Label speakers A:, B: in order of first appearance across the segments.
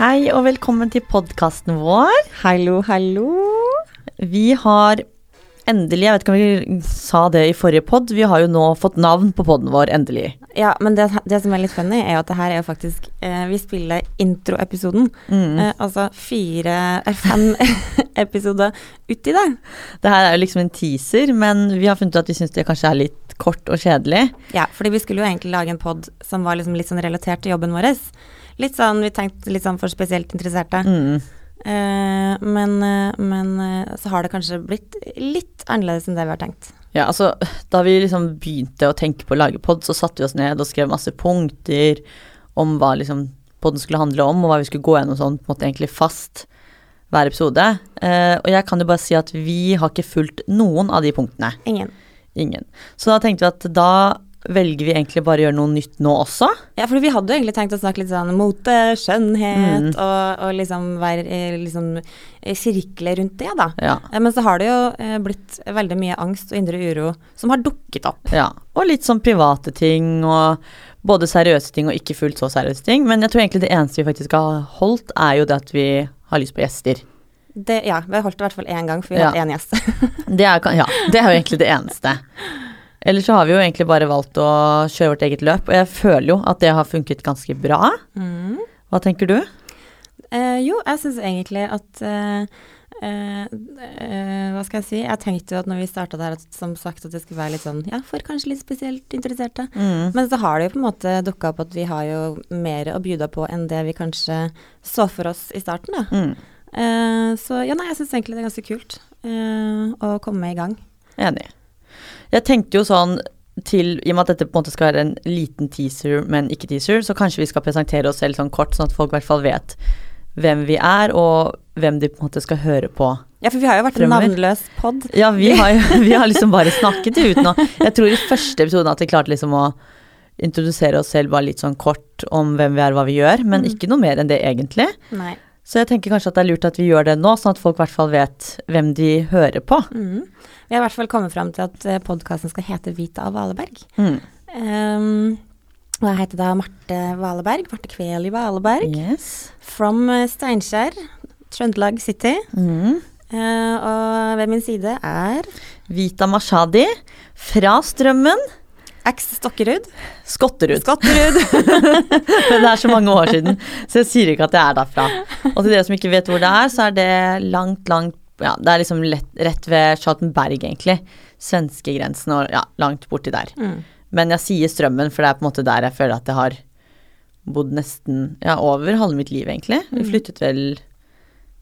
A: Hei og velkommen til podkasten vår.
B: Hallo, hallo.
A: Vi har endelig, jeg vet ikke om vi sa det i forrige pod, vi har jo nå fått navn på poden vår, endelig.
B: Ja, men det, det som er litt funny, er jo at det her er jo faktisk eh, Vi spiller introepisoden.
A: Mm.
B: Eh, altså fire eh, fem episoder uti det.
A: Det her er jo liksom en teaser, men vi har funnet ut at vi syns det kanskje er litt kort og kjedelig.
B: Ja, fordi vi skulle jo egentlig lage en pod som var liksom litt sånn relatert til jobben vår. Litt sånn vi tenkte litt sånn for spesielt interesserte.
A: Mm.
B: Eh, men eh, men eh, så har det kanskje blitt litt annerledes enn det vi har tenkt.
A: Ja, altså, da vi liksom begynte å tenke på å lage pod, så satte vi oss ned og skrev masse punkter om hva liksom podden skulle handle om, og hva vi skulle gå gjennom sånn, på en måte egentlig fast hver episode. Eh, og jeg kan jo bare si at vi har ikke fulgt noen av de punktene.
B: Ingen.
A: Ingen. Så da tenkte vi at da velger vi egentlig bare å gjøre noe nytt nå også.
B: Ja, for vi hadde jo egentlig tenkt å snakke litt sånn mote, skjønnhet, og, og liksom være eh, liksom, eh, sirkle rundt det, da.
A: Ja.
B: Eh, Men så har det jo eh, blitt veldig mye angst og indre uro som har dukket opp.
A: ja. Og litt sånn private ting og både seriøse ting og ikke fullt så seriøse ting. Men jeg tror egentlig det eneste vi faktisk har holdt, er jo det at vi har lyst på gjester.
B: Det, ja, vi har holdt det i hvert fall én gang, for vi
A: Ja.
B: har hatt én gjest.
A: Det er, kan- ja, det er jo egentlig det eneste. Ellers så har vi jo egentlig bare valgt å kjøre vårt eget løp, og jeg føler jo at det har funket ganske bra. Hva tenker du?
B: Eh, jo, jeg syns egentlig at eh, eh, eh, Hva skal jeg si? Jeg tenkte jo at når vi starta der, at, som sagt at det skulle være litt sånn Ja, for kanskje litt spesielt interesserte.
A: Mm.
B: Men så har det jo på en måte dukka opp at vi har jo mer å bjuda på enn det vi kanskje så for oss i starten, da.
A: Mm.
B: Eh, så ja, nei, jeg syns egentlig det er ganske kult eh, å komme i gang.
A: Enig. Jeg tenkte jo sånn til, I og med at dette på en måte skal være en liten teaser, men ikke teaser, så kanskje vi skal presentere oss selv sånn kort, sånn at folk i hvert fall vet hvem vi er, og hvem de på en måte skal høre på.
B: Ja, for vi har jo vært en
A: Fremover.
B: navnløs pod.
A: Ja, vi har, jo- vi har liksom bare snakket det ut nå. Jeg tror i første episoden at vi klarte liksom å introdusere oss selv bare litt sånn kort om hvem vi er, hva vi gjør, men ikke noe mer enn det egentlig.
B: Nei.
A: Så jeg tenker kanskje at det er lurt at vi gjør det nå, sånn at folk i hvert fall vet hvem de hører på.
B: Mm. Vi har i hvert fall kommet fram til at podkasten skal hete Vita av Valeberg.
A: Mm.
B: Um, og jeg heter da Marte Valeberg, Marte Kveli Valeberg,
A: Yes.
B: from eh, Steinkjer, Trøndelag City.
A: Mm.
B: Eh, og ved min side er
A: Vita Mashadi fra Strømmen,
B: X Stokkerud.
A: Skotterud.
B: Skotterud.
A: Men det er så mange år siden, så jeg sier ikke at jeg er derfra. Og til dere som ikke vet hvor det er, så er det langt, langt ja, Det er liksom lett, rett ved Charlottenberg, egentlig. Svenskegrensen og ja, langt borti der.
B: Mm.
A: Men jeg sier Strømmen, for det er på en måte der jeg føler at jeg har bodd nesten ja, over halve mitt liv, egentlig. Vi
B: Mm.
A: flyttet vel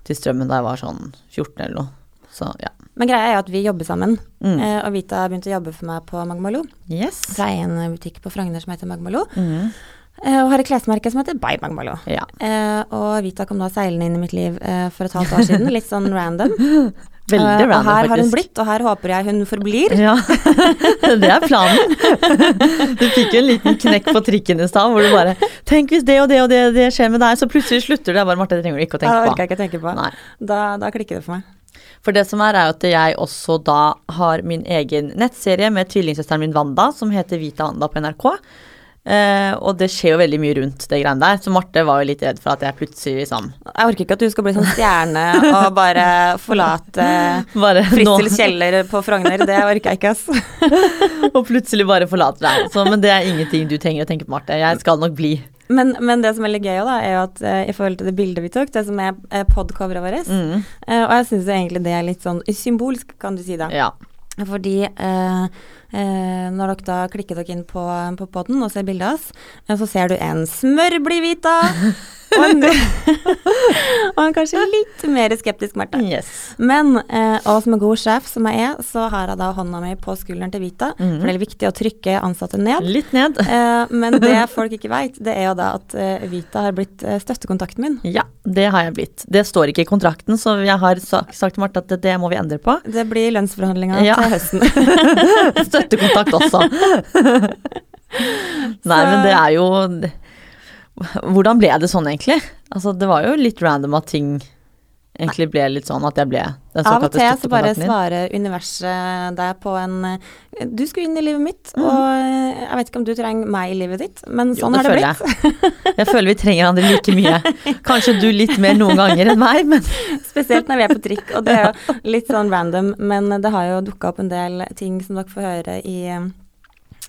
A: til Strømmen da jeg var sånn 14 eller noe. Så ja.
B: Men greia er jo at vi jobber sammen,
A: Mm.
B: eh, og Vita begynte å jobbe for meg på Magmalo.
A: Yes.
B: Så jeg er i en butikk på Frogner som heter Magmalo,
A: Mm.
B: eh, og har et klesmerke som heter By Magmalo.
A: Ja.
B: Eh, og Vita kom da seilende inn i mitt liv eh, for et halvt år siden, litt sånn random.
A: Veldig
B: Eh,
A: random,
B: og her har hun
A: faktisk.
B: blitt, og her håper jeg hun forblir.
A: Ja, det er planen. Du fikk jo en liten knekk på trikken i stad hvor du bare Tenk hvis det og det og det, og det skjer med deg, så plutselig slutter du. Jeg bare Marte, det trenger du ikke å
B: Ja, det
A: tenke
B: orker
A: på.
B: jeg ikke å tenke på.
A: Nei.
B: Da, da klikker det for meg.
A: For det som er, er jo at jeg også da har min egen nettserie med tvillingsøsteren min Wanda, som heter Vita Wanda på NRK. Eh, og det skjer jo veldig mye rundt det greiene der, så Marte var jo litt redd for at jeg plutselig liksom
B: Jeg orker ikke at du skal bli sånn stjerne og bare forlate
A: bare nå-
B: Frissels kjeller på Frogner. Det orker jeg ikke, ass.
A: Og plutselig bare forlater deg. Så, men det er ingenting du trenger å tenke på, Marte. Jeg skal nok bli.
B: Men, men det som er litt gøy, også da, er jo at eh, i forhold til det bildet vi tok, det som er eh, podcoveret vårt,
A: Mm,
B: eh, og jeg syns egentlig det er litt sånn symbolsk, kan du si da.
A: ja.
B: Fordi eh, eh, når dere da klikker dere inn på, på podden og ser bildet av oss, eh, så ser du en smørblivita og en, og en kanskje litt mer skeptisk Marte.
A: Yes.
B: Men, eh, og som en god sjef som jeg er, så har jeg da hånda mi på skulderen til Vita. For det er viktig å trykke ansatte ned.
A: Litt ned.
B: Eh, men det folk ikke veit, det er jo da at eh, Vita har blitt eh, støttekontakten min.
A: Ja, det har jeg blitt. Det står ikke i kontrakten, så jeg har sa- sagt til Marte at det, det må vi endre på.
B: Det blir lønnsforhandlinga
A: Ja.
B: til høsten.
A: Støttekontakt også. Nei, men det er jo Hvordan ble det sånn, egentlig? Altså, det var jo litt random at ting egentlig ble litt sånn at jeg ble den
B: Av og
A: såkalte
B: til så bare
A: støttekontakten din.
B: svarer universet deg på en eh, Du skulle inn i livet mitt, og eh, jeg vet ikke om du trenger meg i livet ditt, men
A: Mhm. Jo,
B: sånn har det
A: føler
B: blitt.
A: Jeg. jeg føler vi trenger hverandre like mye. Kanskje du litt mer noen ganger enn meg, men
B: Spesielt når vi er på trikk, og det er jo litt sånn random, men det har jo dukka opp en del ting som dere får høre i,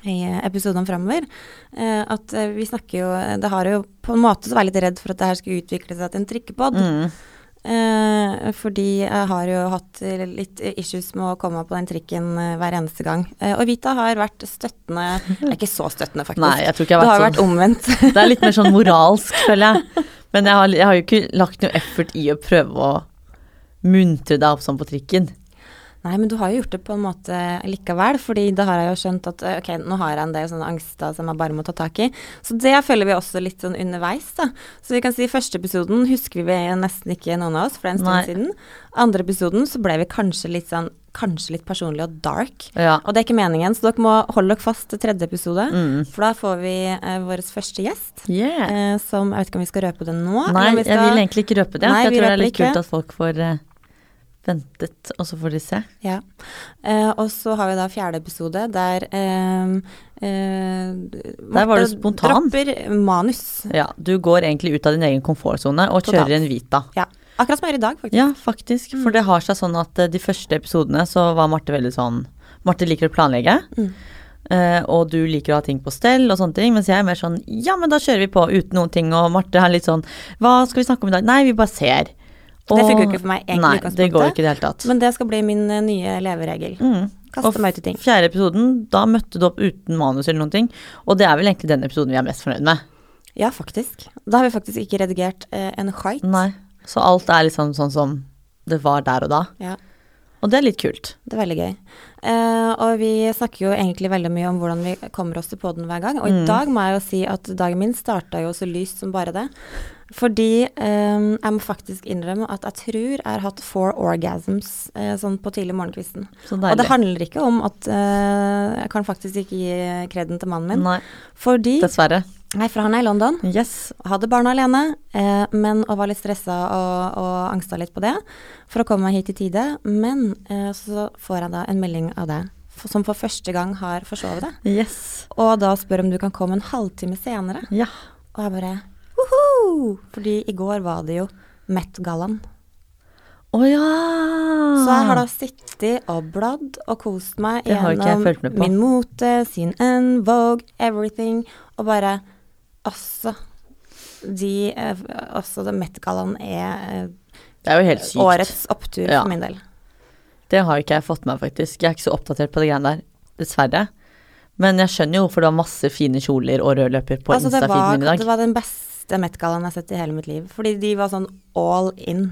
B: i episodene framover. Eh, at eh, vi snakker jo Det har jo På en måte så var jeg litt redd for at det her skulle utvikle seg til en trikkepod.
A: mm.
B: Eh, fordi jeg har jo hatt eh, litt issues med å komme meg på den trikken eh, hver eneste gang. Eh, og Vita har vært støttende Jeg er ikke så støttende, faktisk.
A: Nei, jeg tror ikke jeg
B: det
A: har
B: har
A: vært
B: vært omvendt.
A: sånn. Det er litt mer sånn moralsk, føler jeg. Men jeg har, jeg har jo ikke lagt noe effort i å prøve å muntre deg opp sånn på trikken.
B: Nei, men du har jo gjort det på en måte likevel, fordi da har jeg jo skjønt at eh, ok, nå har jeg en del sånne angster som jeg bare må ta tak i. Så det følger vi også litt sånn underveis, da. Så vi kan si første episoden husker vi nesten ikke noen av oss, for det er en
A: Nei.
B: stund siden. Andre episoden så ble vi kanskje litt sånn, kanskje litt personlig og dark.
A: Ja.
B: Og det er ikke meningen, så dere må holde dere fast til tredje episode,
A: Mm.
B: for da får vi eh, vår første gjest.
A: Yeah.
B: Eh, som, Jeg vet ikke om vi skal røpe den
A: Nei,
B: nå. eller om vi
A: jeg
B: skal-
A: vil egentlig ikke røpe det.
B: Nei,
A: for jeg
B: vi
A: tror det er
B: røper
A: litt
B: ikke.
A: kult at folk får eh, ventet, og så får de se.
B: Ja. Eh, og så har vi da fjerde episode der eh, eh,
A: Der var du
B: Marte
A: spontan.
B: dropper manus.
A: Ja, du går egentlig ut av din egen komfortsone og
B: Totalt.
A: kjører en Vita.
B: Ja. Akkurat som jeg gjør i dag, faktisk.
A: Ja, faktisk. For det har seg sånn at eh, de første episodene så var Marte veldig sånn Marte liker å planlegge,
B: Mm.
A: eh, og du liker å ha ting på stell og sånne ting, mens jeg er mer sånn ja, men da kjører vi på uten noen ting, og Marte er litt sånn hva skal vi snakke om i dag? Nei, vi bare ser.
B: Det funker jo ikke for meg
A: Nei,
B: egentlig i
A: det går jo
B: utgangspunktet.
A: ikke i det hele tatt.
B: Men det skal bli min eh, nye leveregel.
A: Mm.
B: Kaste
A: Og
B: meg ut i ting.
A: Fjerde episoden, da møtte du opp uten manus eller noen ting, og det er vel egentlig den episoden vi er mest fornøyd med.
B: Ja, faktisk. Da har vi faktisk ikke redigert eh, en skit.
A: Nei. Så alt er liksom sånn som det var der og da.
B: Ja.
A: Og det er litt kult.
B: Det er veldig gøy. Eh, og vi snakker jo egentlig veldig mye om hvordan vi kommer oss til poden hver gang. Og
A: Mm.
B: i dag må jeg jo si at dagen min starta jo så lyst som bare det. Fordi eh, jeg må faktisk innrømme at jeg tror jeg har hatt four orgasms eh, sånn på tidlig morgenkvisten.
A: Så
B: Og
A: deilig.
B: det handler ikke om at eh, jeg kan faktisk ikke gi kreden til mannen min.
A: Nei,
B: Fordi
A: dessverre.
B: Nei, for han er i London.
A: Yes.
B: Hadde barna alene, eh, men og var litt stressa og, og angsta litt på det for å komme meg hit i tide. Men eh, så får jeg da en melding av deg f- som for første gang har forsovet deg.
A: Yes.
B: Og da spør om du kan komme en halvtime senere.
A: Ja.
B: Og jeg bare woho! Fordi i går var det jo Met-gallaen.
A: Å ja!
B: Så jeg har da sittet og bladd og kost meg
A: Ah. Det har jo ikke jeg
B: gjennom
A: fulgt med på.
B: min mote, sin en, Vogue, everything, og bare Altså. De eh, Altså, det Met-gallaen er eh,
A: Det er jo helt sykt.
B: årets opptur
A: Ja.
B: for min del.
A: Det har ikke jeg fått med meg, faktisk. Jeg er ikke så oppdatert på det greiene der, dessverre. Men jeg skjønner jo hvorfor det var masse fine kjoler og rød løper på
B: altså, det var,
A: Insta-feeden min i dag.
B: det var den beste Met-gallaen jeg har sett i hele mitt liv. Fordi de var sånn all in.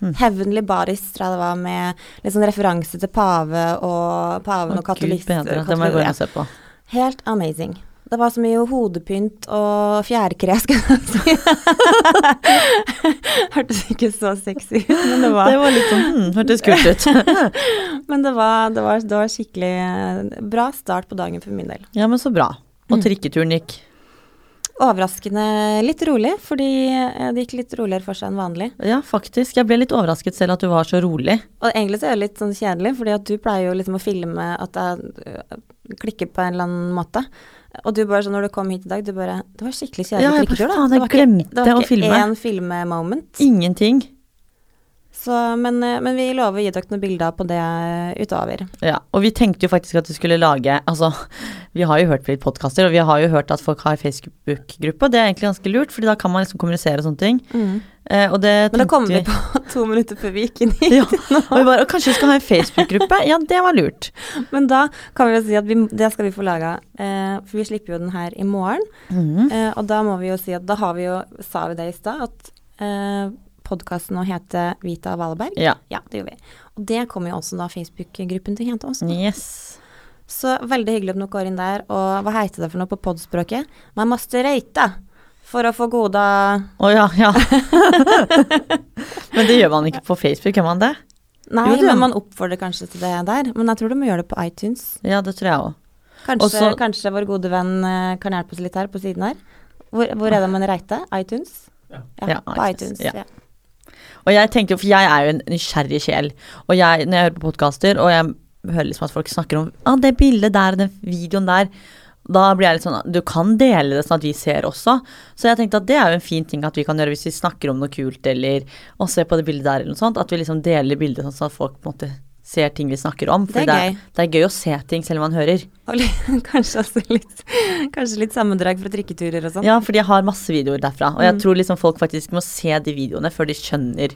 A: Hm.
B: Heavenly Bodies tror jeg det var, med litt sånn referanse til pave og paven
A: Å,
B: og katolist.
A: Gud bedre, det må jeg gå
B: ja.
A: inn og se på.
B: Helt amazing. Det var så mye hodepynt og fjærkre, skal jeg si. Hørtes ikke så sexy ut, men det var,
A: Det var litt sånn hmm, Hørtes kult ut.
B: men det var, det var, det var skikkelig eh, bra start på dagen for min del.
A: ja, men så bra.
B: Mm.
A: Og trikketuren gikk.
B: Overraskende litt rolig, fordi eh, det gikk litt roligere for seg enn vanlig.
A: Ja, faktisk. Jeg ble litt overrasket selv at du var så rolig.
B: Og egentlig så er det litt sånn kjedelig, fordi at du pleier jo liksom å filme at jeg øh, klikker på en eller annen måte. Og du bare sånn når du kom hit i dag, du bare Det var skikkelig kjedelig
A: Ja, jeg bare,
B: klikketur, da.
A: faen, jeg
B: det var ikke,
A: glemte
B: det var
A: å
B: ikke
A: filme.
B: én filmemoment.
A: Ingenting.
B: Så, men, øh, men vi lover å gi dere noen bilder på det eh, utover.
A: Ja, og vi tenkte jo faktisk at vi skulle lage Altså, vi har jo hørt på litt podkaster, og vi har jo hørt at folk har Facebook-gruppe, og det er egentlig ganske lurt, Fordi da kan man liksom kommunisere og sånne ting.
B: Mm.
A: Eh, og det
B: Men da
A: tenkte
B: kom vi på to minutter før vi gikk inn hit.
A: ja, og vi bare, «Å, Kanskje vi skal ha en Facebook-gruppe? Ja, det var lurt.
B: Men da kan vi jo si at vi, det skal vi få laga, eh, for vi slipper jo den her i morgen.
A: Mhm.
B: Eh, og da må vi jo si at da har vi jo, sa vi det i stad, at eh, podkasten nå heter Vita Valberg.
A: Ja.
B: Ja, det gjorde vi. Mm. Og det kommer jo også da Facebook-gruppen til jenta også.
A: Yes.
B: Så veldig hyggelig at dere går inn der, og hva heter det for noe på podspråket? Man måste røyte for å få goda
A: Å ja, ja. Men det gjør man ikke på Facebook, gjør man det?
B: Nei,
A: Jo, det-
B: men man oppfordrer kanskje til det der. Men jeg tror du må gjøre det på iTunes.
A: Ja, det tror jeg òg.
B: Kanskje,
A: Også-
B: kanskje vår gode venn eh, kan hjelpe oss litt her på siden her. Hvor, hvor er det man reiter? iTunes?
A: Ja,
B: på
A: iTunes,
B: iTunes.
A: ja.
B: ja.
A: Og jeg tenker, for jeg er jo en nysgjerrig sjel. Og jeg, når jeg hører på podkaster, og jeg hører liksom at folk snakker om ah, det bildet der og den videoen der, da blir jeg litt sånn Du kan dele det sånn at vi ser også. Så jeg tenkte at det er jo en fin ting at vi kan gjøre hvis vi snakker om noe kult eller å se på det bildet der eller noe sånt. At vi liksom deler bildet sånn at folk på en måte ser ting vi snakker om. For
B: Det er
A: det er,
B: gøy.
A: det er gøy å se ting selv om man hører.
B: Og litt, kanskje også litt, kanskje litt sammendrag fra trikketurer og sånn.
A: Ja, fordi jeg har masse videoer derfra. Og
B: Mm.
A: jeg tror liksom folk faktisk må se de videoene før de skjønner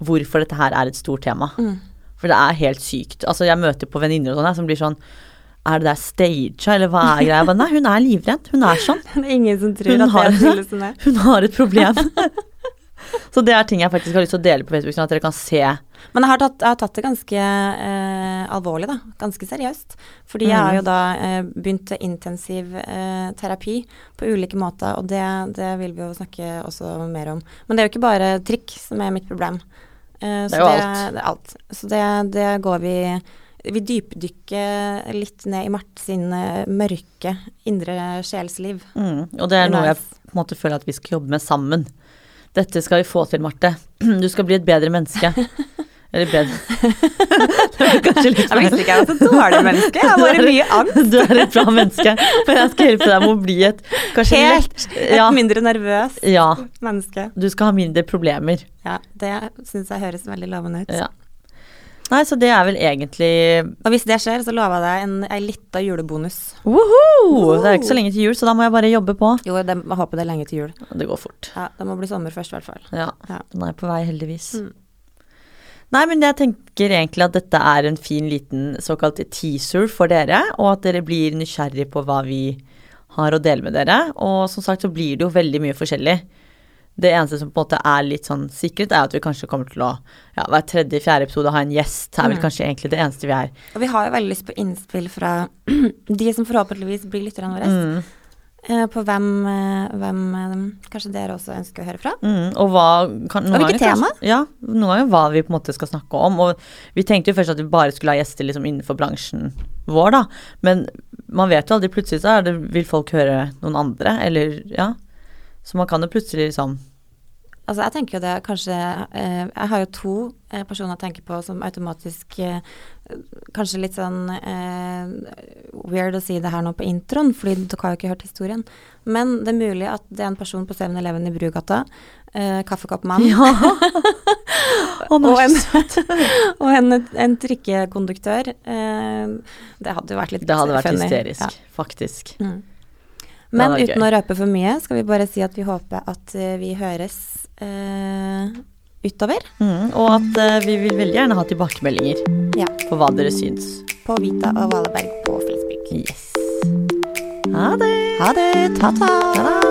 A: hvorfor dette her er et stort tema.
B: Mm.
A: For det er helt sykt. Altså, jeg møter på venninner og sånn her som blir sånn Er det der staged, eller hva er greia? Jeg bare, Nei, hun er livredd. Hun er sånn.
B: Det er ingen som tror
A: Hun
B: at det
A: har,
B: er tullet som er.
A: hun har et problem. Så det er ting jeg faktisk har lyst til å dele på Facebook, sånn at dere kan se.
B: Men jeg har tatt, jeg har tatt det ganske eh, alvorlig, da. Ganske seriøst. Fordi jeg
A: Mm.
B: har jo da eh, begynt intensiv eh, terapi på ulike måter, og det, det vil vi jo snakke også mer om. Men det er jo ikke bare trikk som er mitt problem. Eh,
A: Det er
B: så
A: jo alt.
B: Det er alt. Så det, det går vi Vi dypdykker litt ned i Marte sin eh, mørke indre sjelsliv.
A: Mm. Og det er noe jeg
B: Nice.
A: på en måte føler at vi skal jobbe med sammen. Dette skal vi få til, Marte. Du skal bli et bedre menneske. Eller bedre Det var kanskje litt
B: Jeg visste ikke jeg var så dårlig menneske, jeg har bare mye angst.
A: Du er et bra menneske, men jeg skal hjelpe deg med å bli et kanskje
B: Helt
A: lett
B: Et
A: ja,
B: mindre nervøs
A: ja,
B: menneske.
A: du skal ha mindre problemer.
B: Ja, det syns jeg høres veldig lovende ut.
A: Ja. Nei, så det er vel egentlig
B: Og hvis det skjer, så lover jeg deg en, en lita julebonus.
A: Woho! Det er jo ikke så lenge til jul, så da må jeg bare jobbe på.
B: Jo, det, jeg håper det er lenge til jul.
A: Det går fort.
B: Ja, Det må bli sommer først, i hvert fall.
A: Ja,
B: Ja.
A: den er på vei, heldigvis.
B: Mm.
A: Nei, men jeg tenker egentlig at dette er en fin liten såkalt teaser for dere, og at dere blir nysgjerrig på hva vi har å dele med dere. Og som sagt så blir det jo veldig mye forskjellig. Det eneste som på en måte er litt sånn sikkert, er at vi kanskje kommer til å ja, hver tredje-fjerde episode ha en gjest. Det er vel
B: Mm.
A: kanskje egentlig det eneste vi er.
B: Og vi har jo veldig lyst på innspill fra de som forhåpentligvis blir lytterne våre,
A: Mm,
B: eh, på hvem, eh, hvem eh, kanskje dere også ønsker å høre fra.
A: mm, og hva kan,
B: Og hvilket
A: ganger kanskje- Ja, noen ganger hva vi på en måte skal snakke om. Og vi tenkte jo først at vi bare skulle ha gjester liksom innenfor bransjen vår, da. Men man vet jo aldri. Plutselig så er det, vil folk høre noen andre, eller ja. Så man kan jo plutselig liksom
B: Altså, jeg tenker jo det kanskje eh, Jeg har jo to eh, personer jeg tenker på som automatisk eh, Kanskje litt sånn eh, weird å si det her nå på introen, fordi dere har jo ikke hørt historien. Men det er mulig at det er en person på 7-Eleven i Brugata, eh, kaffekoppmann,
A: Ja! Å, men
B: og en, og en, en trikkekonduktør. Eh, det hadde jo vært litt
A: Det hadde vært
B: funny.
A: hysterisk,
B: Ja.
A: faktisk.
B: Mm. Men
A: hadde vært
B: uten
A: gøy.
B: å røpe for mye, skal vi bare si at vi håper at eh, vi høres eh, utover.
A: Mm, og at eh, vi vil veldig gjerne ha tilbakemeldinger
B: Ja.
A: på hva dere syns.
B: på Vita og Valeberg på Facebook.
A: Yes. Ha det!
B: Ha det! Ta-ta!
A: Ta-da!